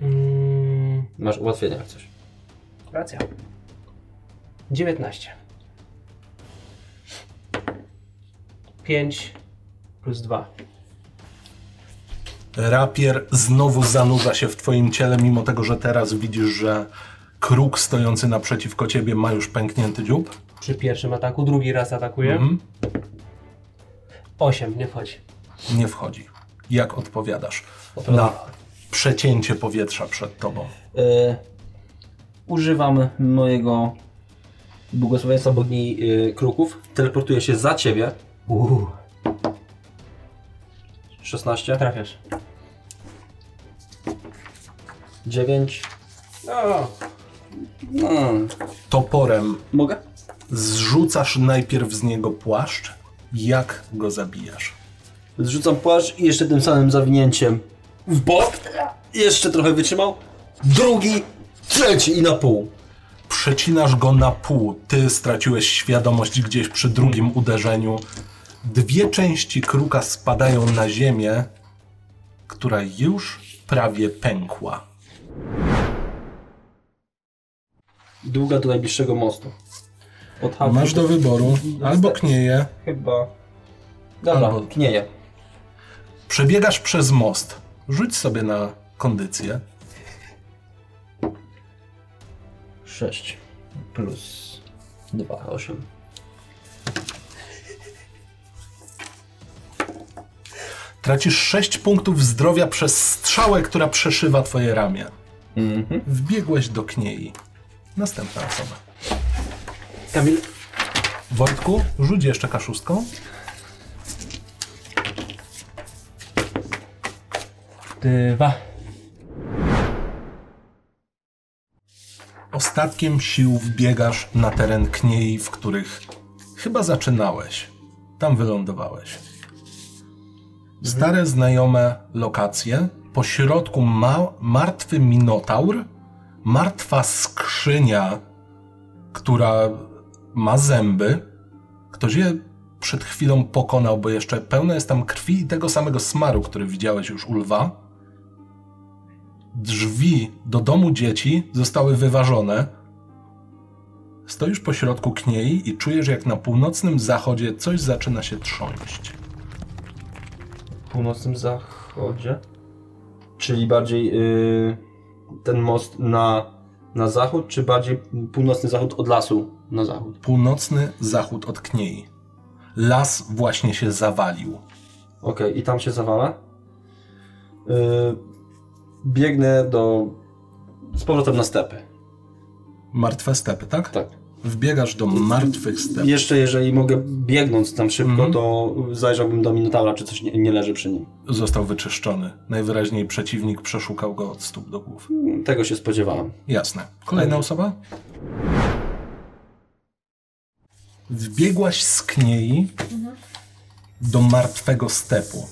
Mm, Masz ułatwienie jak coś. racja. 19. 5 plus 2. Rapier znowu zanurza się w twoim ciele, mimo tego, że teraz widzisz, że kruk stojący naprzeciwko ciebie ma już pęknięty dziób. Przy pierwszym ataku, drugi raz atakuję. Mhm. 8, nie wchodzi. Nie wchodzi. Jak odpowiadasz na przecięcie powietrza przed tobą? E, używam mojego błogosławieństwa bogini e, kruków. Teleportuję się za ciebie. Uuu. 16, Trafiasz. 9. O, No, Toporem mogę? zrzucasz najpierw z niego płaszcz, jak go zabijasz. Zrzucam płaszcz i jeszcze tym samym zawinięciem w bok. Jeszcze trochę wytrzymał. Drugi, trzeci i na pół. Przecinasz go na pół. Ty straciłeś świadomość gdzieś przy drugim uderzeniu. Dwie części kruka spadają na ziemię, która już prawie pękła. Długa do najbliższego mostu. Od Hawry Masz do wyboru albo knieje, Chyba. Dobra, Albo- knieje. przebiegasz przez most. Rzuć sobie na kondycję. 6 plus 2, 8. Tracisz 6 punktów zdrowia przez strzałę, która przeszywa twoje ramię. Wbiegłeś do kniei. Następna osoba. Kamil, Wojtku, rzuć jeszcze kaszustką. dwa. Ostatkiem sił wbiegasz na teren kniei, w których chyba zaczynałeś. Tam wylądowałeś. Stare, znajome lokacje. Po środku ma- martwy minotaur, martwa skrzynia, która ma zęby. Ktoś je przed chwilą pokonał, bo jeszcze pełna jest tam krwi i tego samego smaru, który widziałeś już u lwa. drzwi do domu dzieci zostały wyważone. Stoisz po środku kniei i czujesz, jak na północnym zachodzie coś zaczyna się trząść. W północnym zachodzie. Czyli bardziej y, ten most na, na zachód, czy bardziej północny zachód od lasu na zachód? Północny zachód od kniei. Las właśnie się zawalił. Okej, i tam się zawala. Y, biegnę do. z powrotem na stepy. Martwe stepy, tak? Tak. Wbiegasz do martwych step. Jeszcze jeżeli mogę biegnąc tam szybko, Mhm. to zajrzałbym do Minotaura, czy coś nie, nie leży przy nim. Został wyczyszczony. Najwyraźniej przeciwnik przeszukał go od stóp do głów. Tego się spodziewałem. Jasne. Kolejna osoba? Wbiegłaś z kniei do martwego stepu.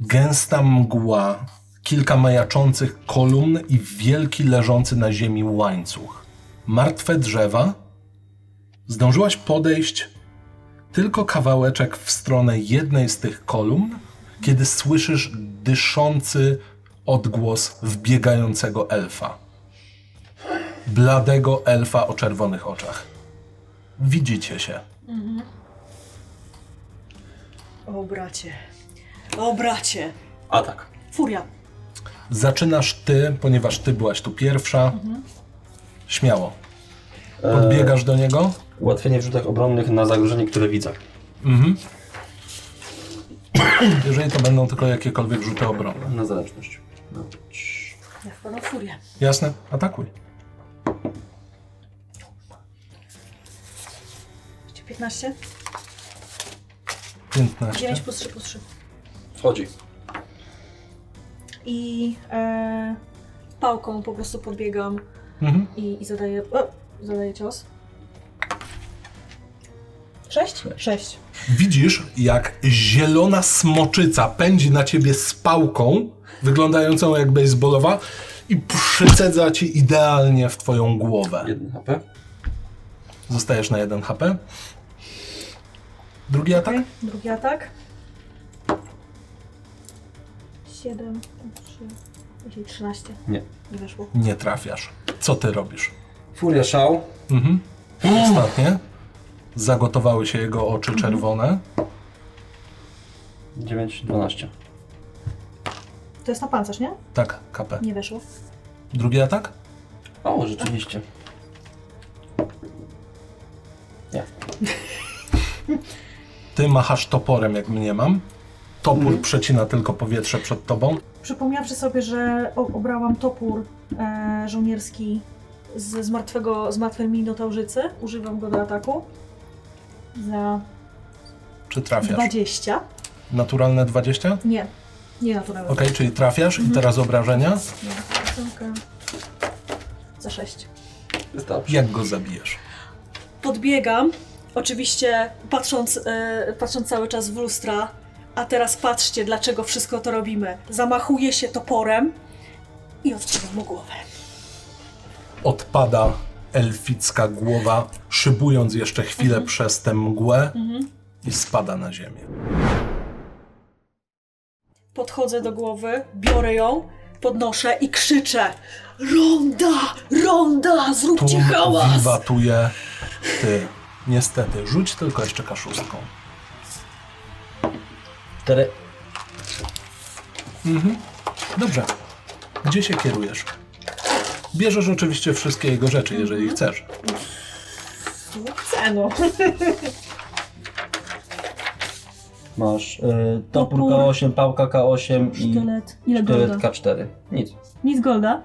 Gęsta mgła, kilka majaczących kolumn i wielki leżący na ziemi łańcuch. martwe drzewa. Zdążyłaś podejść tylko kawałeczek w stronę jednej z tych kolumn, kiedy słyszysz dyszący odgłos wbiegającego elfa. Bladego elfa o czerwonych oczach. Widzicie się. O bracie. O bracie. Atak. Furia. Zaczynasz ty, ponieważ ty byłaś tu pierwsza. Śmiało. Podbiegasz do niego. E, Ułatwienie w rzutach obronnych na zagrożenie, które widzę. Mhm. Jeżeli to będą tylko jakiekolwiek rzuty obronne. Na zależność. No. Ja wpadam No, w furię. Jasne? Atakuj. 15? 15. 9 plus 3 plus 3. Wchodzi. I e, pałką po prostu podbiegam Mhm. i, i zadaję. O, zadaję cios. 6? 6. Widzisz, jak zielona smoczyca pędzi na ciebie z pałką, wyglądającą jak baseballowa, i przycedza ci idealnie w twoją głowę. Jeden HP. Zostajesz na 1 HP. Drugi atak? Okay. Drugi atak. 7, 3, 13. Nie. Nie weszło. Nie trafiasz. Co ty robisz? Furia szał. Mhm. Ostatnie. Zagotowały się jego oczy czerwone. 9, 12. To jest na pancerz, nie? Tak, KP. Nie weszło. Drugi atak? O, rzeczywiście. Nie. Ty machasz toporem, jak mnie mam. Topór Mhm. przecina tylko powietrze przed tobą. Przypomniawszy sobie, że o- obrałam topór e, żołnierski z, z, martwego, z martwej minotaurzycy, używam go do ataku za Czy trafiasz? 20. Naturalne 20? Nie, nie naturalnie. Ok, czyli trafiasz i teraz obrażenia. Nie, ósemka. Za 6. Wystarczy. Jak go zabijesz? Podbiegam, oczywiście patrząc, e, patrząc cały czas w lustra, a teraz patrzcie, dlaczego wszystko to robimy. Zamachuję się toporem i odcinam mu głowę. Odpada elficka głowa, szybując jeszcze chwilę przez tę mgłę i spada na ziemię. Podchodzę do głowy, biorę ją, podnoszę i krzyczę Ronda! Ronda! Tu Zróbcie hałas! wiwatuje ty. Niestety, rzuć tylko jeszcze kaszustką. 4. Mhm. Dobrze. Gdzie się kierujesz? Bierzesz oczywiście wszystkie jego rzeczy, jeżeli chcesz. Eno. Masz y, topór Topór. K8, pałka K8 i Sztylet. Ile sztylet golda? K4. Nic. Nic golda?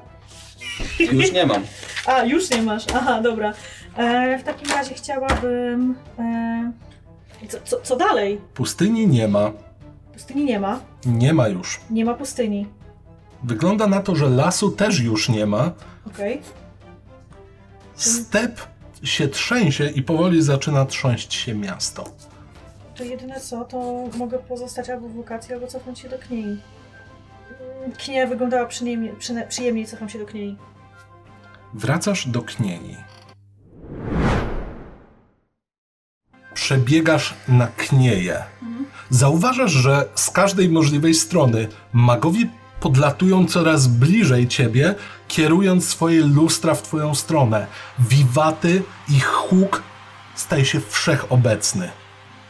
Już nie mam. A, już nie masz. Aha, dobra. E, w takim razie chciałabym... E, Co, co, co dalej? Pustyni nie ma. pustyni nie ma. Nie ma już. Nie ma pustyni. Wygląda na to, że lasu też już nie ma. Okej. Step się trzęsie i powoli zaczyna trząść się miasto. To jedyne co, to mogę pozostać albo w lokacji, albo cofnąć się do kniei. Mm, Knia wyglądała przyjemnie, przyne- przyjemniej, cofam się do kniei. Wracasz do kniei. Przebiegasz na knieje. Zauważasz, że z każdej możliwej strony magowie podlatują coraz bliżej ciebie, kierując swoje lustra w twoją stronę. Wiwaty i huk staje się wszechobecny.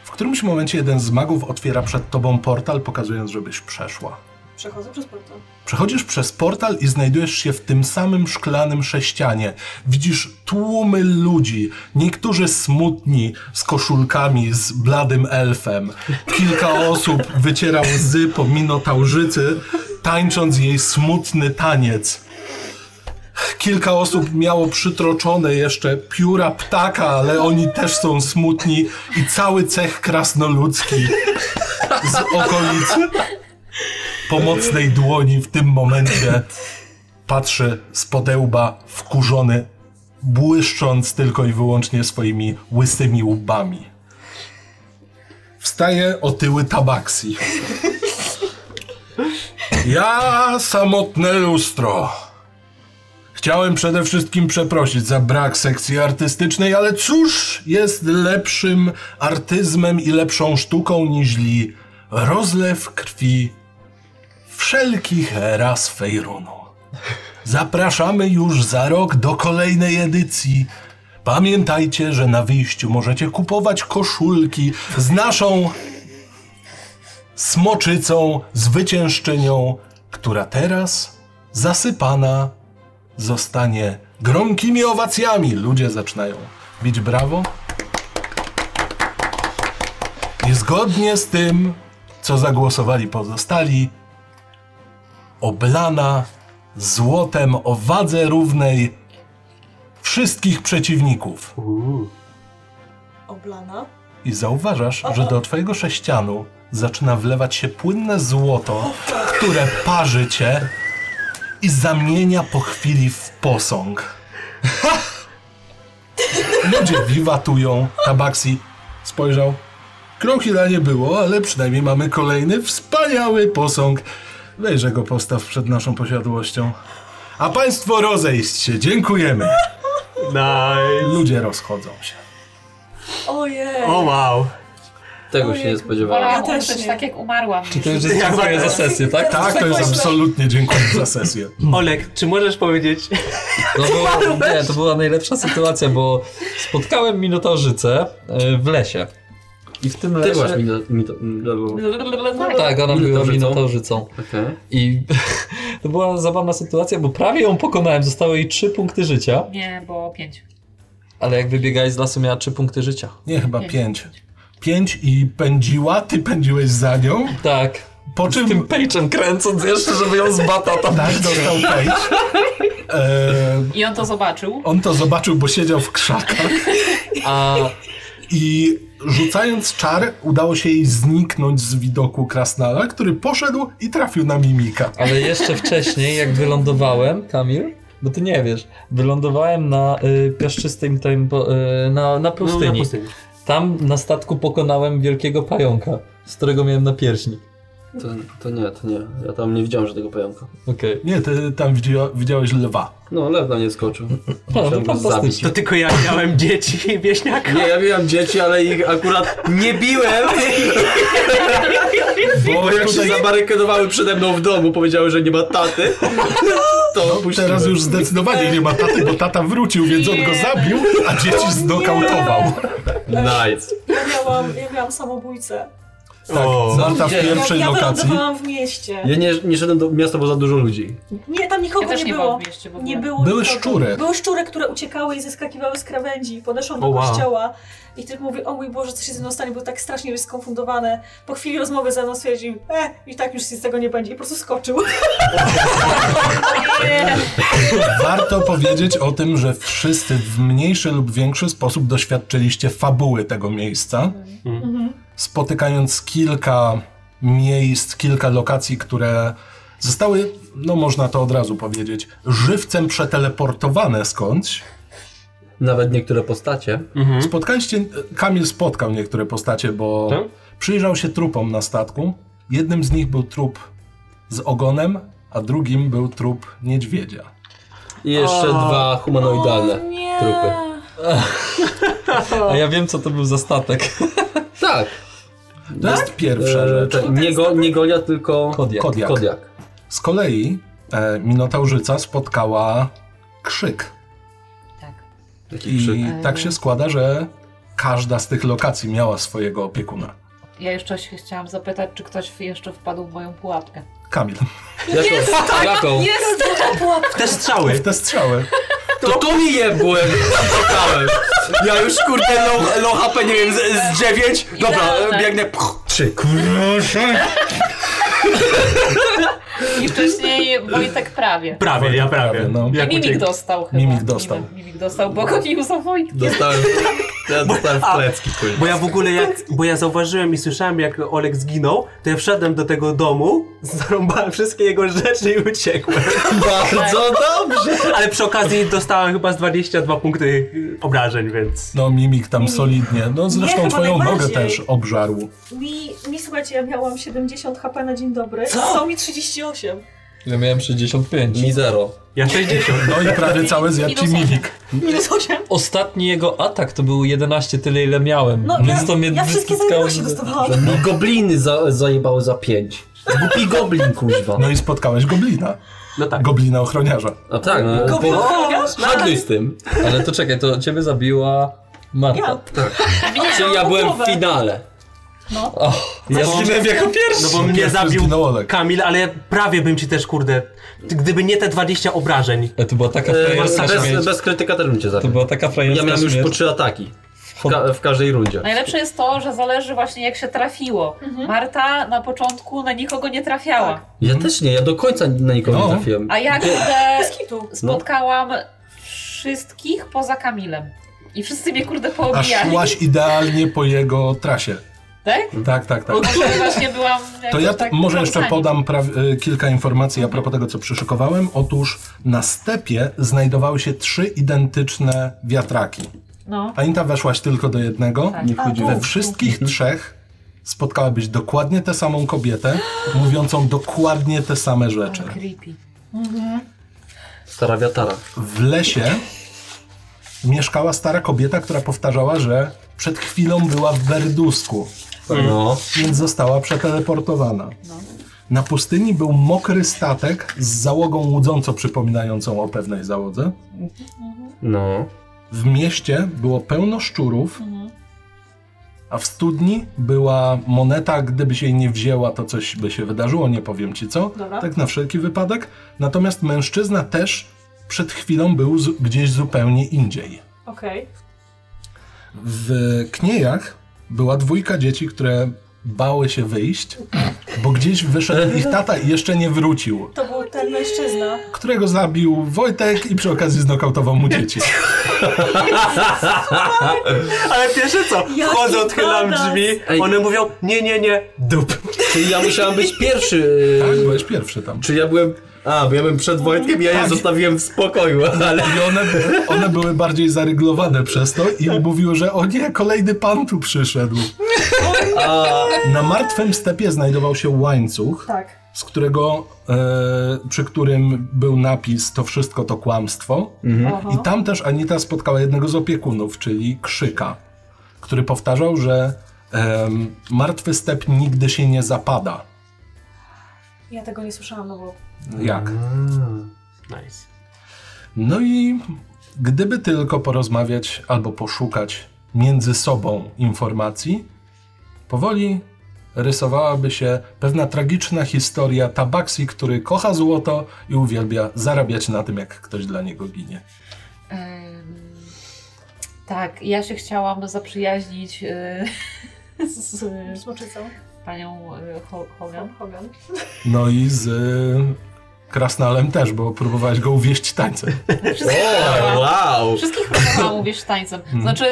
W którymś momencie jeden z magów otwiera przed tobą portal, pokazując, żebyś przeszła. Przechodzę przez portal. Przechodzisz przez portal i znajdujesz się w tym samym szklanym sześcianie. Widzisz tłumy ludzi, niektórzy smutni, z koszulkami, z bladym elfem. Kilka osób wyciera łzy po minotaurzycy, tańcząc jej smutny taniec. Kilka osób miało przytroczone jeszcze pióra ptaka, ale oni też są smutni i cały cech krasnoludzki z okolic pomocnej dłoni w tym momencie patrzy z podełba wkurzony, błyszcząc tylko i wyłącznie swoimi łysymi łbami. Wstaje otyły tabaksi. Ja, samotne lustro. Chciałem przede wszystkim przeprosić za brak sekcji artystycznej, ale cóż jest lepszym artyzmem i lepszą sztuką niźli rozlew krwi wszelkich ras Fejrunu. Zapraszamy już za rok do kolejnej edycji. Pamiętajcie, że na wyjściu możecie kupować koszulki z naszą smoczycą, zwyciężczynią, która teraz zasypana zostanie gromkimi owacjami. Ludzie zaczynają bić brawo. I zgodnie z tym, co zagłosowali pozostali, oblana złotem o wadze równej wszystkich przeciwników. Oblana. I zauważasz, że do twojego sześcianu zaczyna wlewać się płynne złoto, które parzy cię i zamienia po chwili w posąg. Ha! Ludzie wiwatują. Tabaksi spojrzał. Krochila nie było, ale przynajmniej mamy kolejny wspaniały posąg. Wejrzę go postaw przed naszą posiadłością. A państwo rozejść się, dziękujemy. Nice. Ludzie rozchodzą się. Ojej. O wow. Tego się nie spodziewałem. Wolałam Ja też umrzeć nie. tak jak umarłam. To już jest dziękuję za sesję, tak? Tak, to jest absolutnie dziękuję za sesję. Olek, czy możesz powiedzieć? No było, nie, to była najlepsza sytuacja, bo spotkałem minotaurzycę e, w lesie. I w tym Ty lesie... byłaś mi do... Mi do, mi do... No, Tak, ona była Minotaurzycą. minotaurzycą. Okej. I to była zabawna sytuacja, bo prawie ją pokonałem. Zostały jej 3 punkty życia, Nie, bo pięć. ale jak wybiegałeś z lasu, miała 3 punkty życia. Nie, chyba Nie. pięć. Pięć i pędziła, ty pędziłeś za nią, Tak. po Z czym tym pejczem kręcąc jeszcze, żeby ją z bata tam... tak dostał page. E, I on to zobaczył. on to zobaczył, bo siedział w krzakach A i rzucając czar udało się jej zniknąć z widoku krasnala, który poszedł i trafił na mimika. Ale jeszcze wcześniej, jak wylądowałem, Kamil, bo ty nie wiesz, wylądowałem na y, piaszczystym, tym, po- y, na, na No, pustyni. Tam na statku pokonałem wielkiego pająka, z którego miałem na pierśni. To, to nie, to nie. Ja tam nie widziałem żadnego pająka. Okej. Nie, ty tam widzia, widziałeś lwa. No, lew na nie skoczył. No, to Chciałbym zabić. fantastycznie. To tylko ja miałem dzieci i wieśniaka. Nie, ja miałem dzieci, ale ich akurat nie biłem, bo jak się zabarykadowały przede mną w domu, powiedziały, że nie ma taty, No, to puściłem. Teraz już zdecydowanie nie ma taty, bo tata wrócił, więc on go zabił, a dzieci znokautował. Nice. Ja miałam, ja miałam samobójcę. Tak, Marta w pierwszej ja, ja lokacji. wylądowałam w mieście. Ja nie, nie szedłem do miasta, bo za dużo ludzi. Nie, tam Ja nikogo też nie nie było. byłam w mieście w ogóle. Nie było Były nikogo. szczury. Były szczury, które uciekały i zeskakiwały z krawędzi. Podeszłam do O, wow. kościoła i tylko mówi, o mój Boże, co się ze mną stanie, był tak strasznie skonfundowane. Po chwili rozmowy ze mną stwierdził, "Eh, e, i tak już się z tego nie będzie. I po prostu skoczył. Warto powiedzieć o tym, że wszyscy w mniejszy lub większy sposób doświadczyliście fabuły tego miejsca, spotykając kilka miejsc, kilka lokacji, które zostały, no można to od razu powiedzieć, żywcem przeteleportowane skądś. Nawet niektóre postacie. Spotkaliście, Kamil spotkał niektóre postacie, bo Tak? przyjrzał się trupom na statku. Jednym z nich był trup z ogonem, a drugim był trup niedźwiedzia. I jeszcze dwa humanoidalne trupy. A ja wiem, co to był za statek. Tak. To jest pierwsza E, rzecz. te- nie, go, nie Golia, tylko Kodiak. Kodiak. Kodiak. Z kolei e, Minotaurzyca spotkała krzyk. Tak. Taki I krzyk. E, tak się składa, że każda z tych lokacji miała swojego opiekuna. Ja jeszcze się chciałam zapytać, czy ktoś w- jeszcze wpadł w moją pułapkę. Kamil. Jaką? Jaką? Jest! W te strzały. W te strzały. To to mi jebłem! Czekałem. Ja już kurde low, low HP, nie wiem, z, z 9. Dobra, e, Idealne. biegnę. Puch, trzy. I wcześniej Wojtek prawie. Prawie, ja prawie. no. Jak I Mimik uciekł. dostał chyba. Mimik dostał. Mimik, mimik dostał, bo gonił za Wojtkiem. Dostałem. Ja dostałem w plecki, kurde. Bo ja w ogóle jak, bo ja zauważyłem i słyszałem jak Olek zginął, to ja wszedłem do tego domu, zarąbałem wszystkie jego rzeczy i uciekłem. Bardzo dobrze! Ale przy okazji dostałem chyba z 22 punkty obrażeń, więc... No, mimik tam solidnie. No, zresztą chyba twoją nogę najbardziej. też obżarł. Mi, mi, słuchajcie, ja miałam 70 HP na dzień dobry. Co? Zostało mi 38. Ja miałem 65. Mi zero. Ja 60. No i prawie całe zjadł ci Minus milik. Minus 8. Ostatni jego atak to był 11, tyle ile miałem. No, więc ja, to mnie ja wszystkie wystyskało zajęła się z- dostawałam. Mi gobliny za, zajebały za pięć. Głupi goblin, kuźwa. No i spotkałeś goblina. No tak. Goblina ochroniarza. A tak, Eee, no, Goblin bo... ochroniarz? Handluj z tym. Ale to czekaj, to ciebie zabiła Marta. Ja. Tak. Czyli ja byłem w finale. Och, ja bo- zginąłem jako pierwszy. No bo mnie Pierwszy zabił zginął Olek. Kamil, ale prawie bym ci też, kurde, gdyby nie te 20 obrażeń. E, to była taka frajerska bez, śmierć. bez krytyka też bym cię To zabił. była taka frajerska Ja miałem już po śmierć. trzy ataki. W, ka w każdej rundzie. Najlepsze jest to, że zależy właśnie jak się trafiło. Mhm. Marta na początku na nikogo nie trafiała. Tak. Ja też nie, ja do końca na nikogo No. nie trafiłem. A ja kurde Bez kitu. No. spotkałam wszystkich poza Kamilem. I wszyscy mnie kurde A poobijali. szłaś idealnie po jego trasie. Tak? Tak, tak, tak. Może właśnie byłam To jakoś ja tak może jeszcze zaufani. podam pra- y, kilka informacji a propos tego, co przyszykowałem. Otóż na stepie znajdowały się trzy identyczne wiatraki. No. Anita weszłaś tylko do jednego. Tak. Mhm. wchodziłem. We wszystkich trzech spotkałabyś dokładnie tę samą kobietę, mówiącą dokładnie te same rzeczy. Creepy. Stara wiatara. W lesie mieszkała stara kobieta, która powtarzała, że przed chwilą była w Berdusku. Mhm. No. więc została przeteleportowana. Na pustyni był mokry statek z załogą łudząco przypominającą o pewnej załodze. No. W mieście było pełno szczurów, a w studni była moneta. Gdybyś jej nie wzięła, to coś by się wydarzyło, nie powiem ci co. Dobra. Tak na wszelki wypadek. Natomiast mężczyzna też przed chwilą był zu- gdzieś zupełnie indziej. Okej. W Kniejach była dwójka dzieci, które bały się wyjść, bo gdzieś wyszedł ich tata i jeszcze nie wrócił, To był ten mężczyzna. którego zabił Wojtek i przy okazji znokautował mu dzieci. Ale pierwsze co? Jaki Wchodzę, odchylam badass. drzwi, Ej. one mówią, nie, nie, nie, dup. Czyli ja musiałem być pierwszy. Tak, y, byłeś pierwszy tam. Czy ja byłem... A, bo ja byłem przed Wojtkiem, ja Tak. je zostawiłem w spokoju, ale... I one, one były bardziej zaryglowane przez to i mówiły, że o nie, kolejny pan tu przyszedł. Na martwym stepie znajdował się łańcuch, Tak. z którego, e, przy którym był napis to wszystko to kłamstwo. I tam też Anita spotkała jednego z opiekunów, czyli Krzyka, który powtarzał, że em, martwy step nigdy się nie zapada. Ja tego nie słyszałam, no bo... Jak? Nice. No i gdyby tylko porozmawiać albo poszukać między sobą informacji, powoli rysowałaby się pewna tragiczna historia Tabaksi, który kocha złoto i uwielbia zarabiać na tym, jak ktoś dla niego ginie. Em, tak, ja się chciałam zaprzyjaźnić y, z, z Smoczycą. panią y, Ho- Hogan. Hogan. No i z y, Krasnalem też, bo próbowałeś go uwieść tańcem. O, wow! Wszystkich próbowałam uwieść tańcem. Mm. Znaczy, y,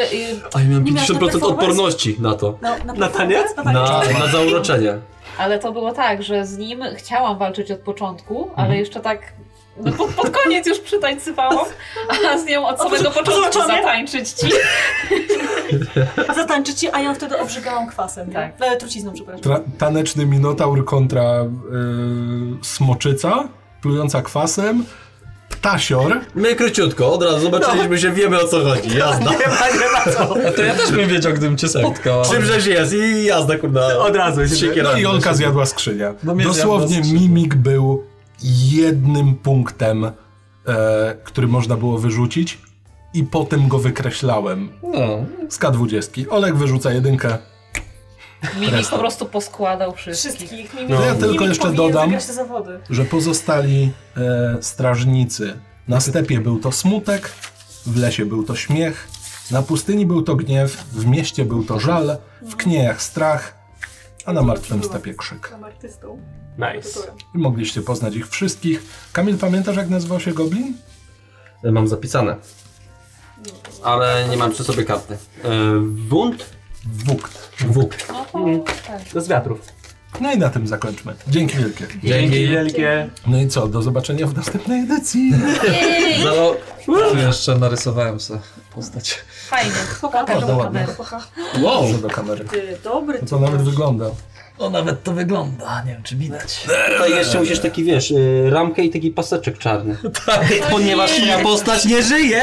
A ja miałem Nie miałeś na 50% performance? odporności na to. No, na, Na taniec? Na Na, taniec. na zauroczenie. ale to było tak, że z nim chciałam walczyć od początku, Mhm. ale jeszcze tak no, pod, pod koniec już przytańcywałam, a z nią od samego początku zobaczenia? zatańczyć ci. Zatańczy ci, a ja wtedy obrzygałam kwasem, nie? Tak. E, trucizną, przepraszam. Tra- taneczny minotaur kontra y, smoczyca, plująca kwasem, ptasior. My króciutko, od razu zobaczyliśmy się, wiemy o co chodzi, jazda. A to ja też bym wiedział, gdybym cię spotkał. ale- Czym żeś jest i jazda, kurna. Od razu się No Siekierami. i Olka zjadła skrzynię. No mnie Dosłownie zjadła skrzynia. mimik był jednym punktem, e, który można było wyrzucić i potem go wykreślałem No, z K20. Olek wyrzuca jedynkę. Mimik po prostu poskładał wszystkich. Wszystkich. Mimik, No. Ja tylko mimik jeszcze powinien dodam, wygrać te zawody. że pozostali e, strażnicy. Na stepie był to smutek, w lesie był to śmiech, na pustyni był to gniew, w mieście był to żal, w kniejach strach, a na martwym stepie krzyk. Jestem artystą. Nice. I mogliście poznać ich wszystkich. Kamil, pamiętasz jak nazywał się Goblin? No Mam zapisane. Ale nie mam przy sobie karty. E, Wund? Wukt. Wuk. No to Mhm. tak. No z wiatrów. No i na tym zakończmy. Dzięki wielkie. Dzięki wielkie. No i co, do zobaczenia w następnej edycji. Zalo... tu jeszcze narysowałem sobie postać. Fajnie. Pokażę Bardzo do ładnie. kamery. Pokażę. Wow! E, Proszę do kamery. Ty, dobry To nawet wygląda. O, nawet to wygląda, nie wiem czy widać. Tutaj jeszcze musisz taki, wiesz, y, ramkę i taki paseczek czarny. Tak, Ponieważ moja postać nie żyje!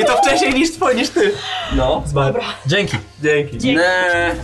I to wcześniej niż twój, niż ty. No. Zmarł. dzięki. Dzięki. Nie.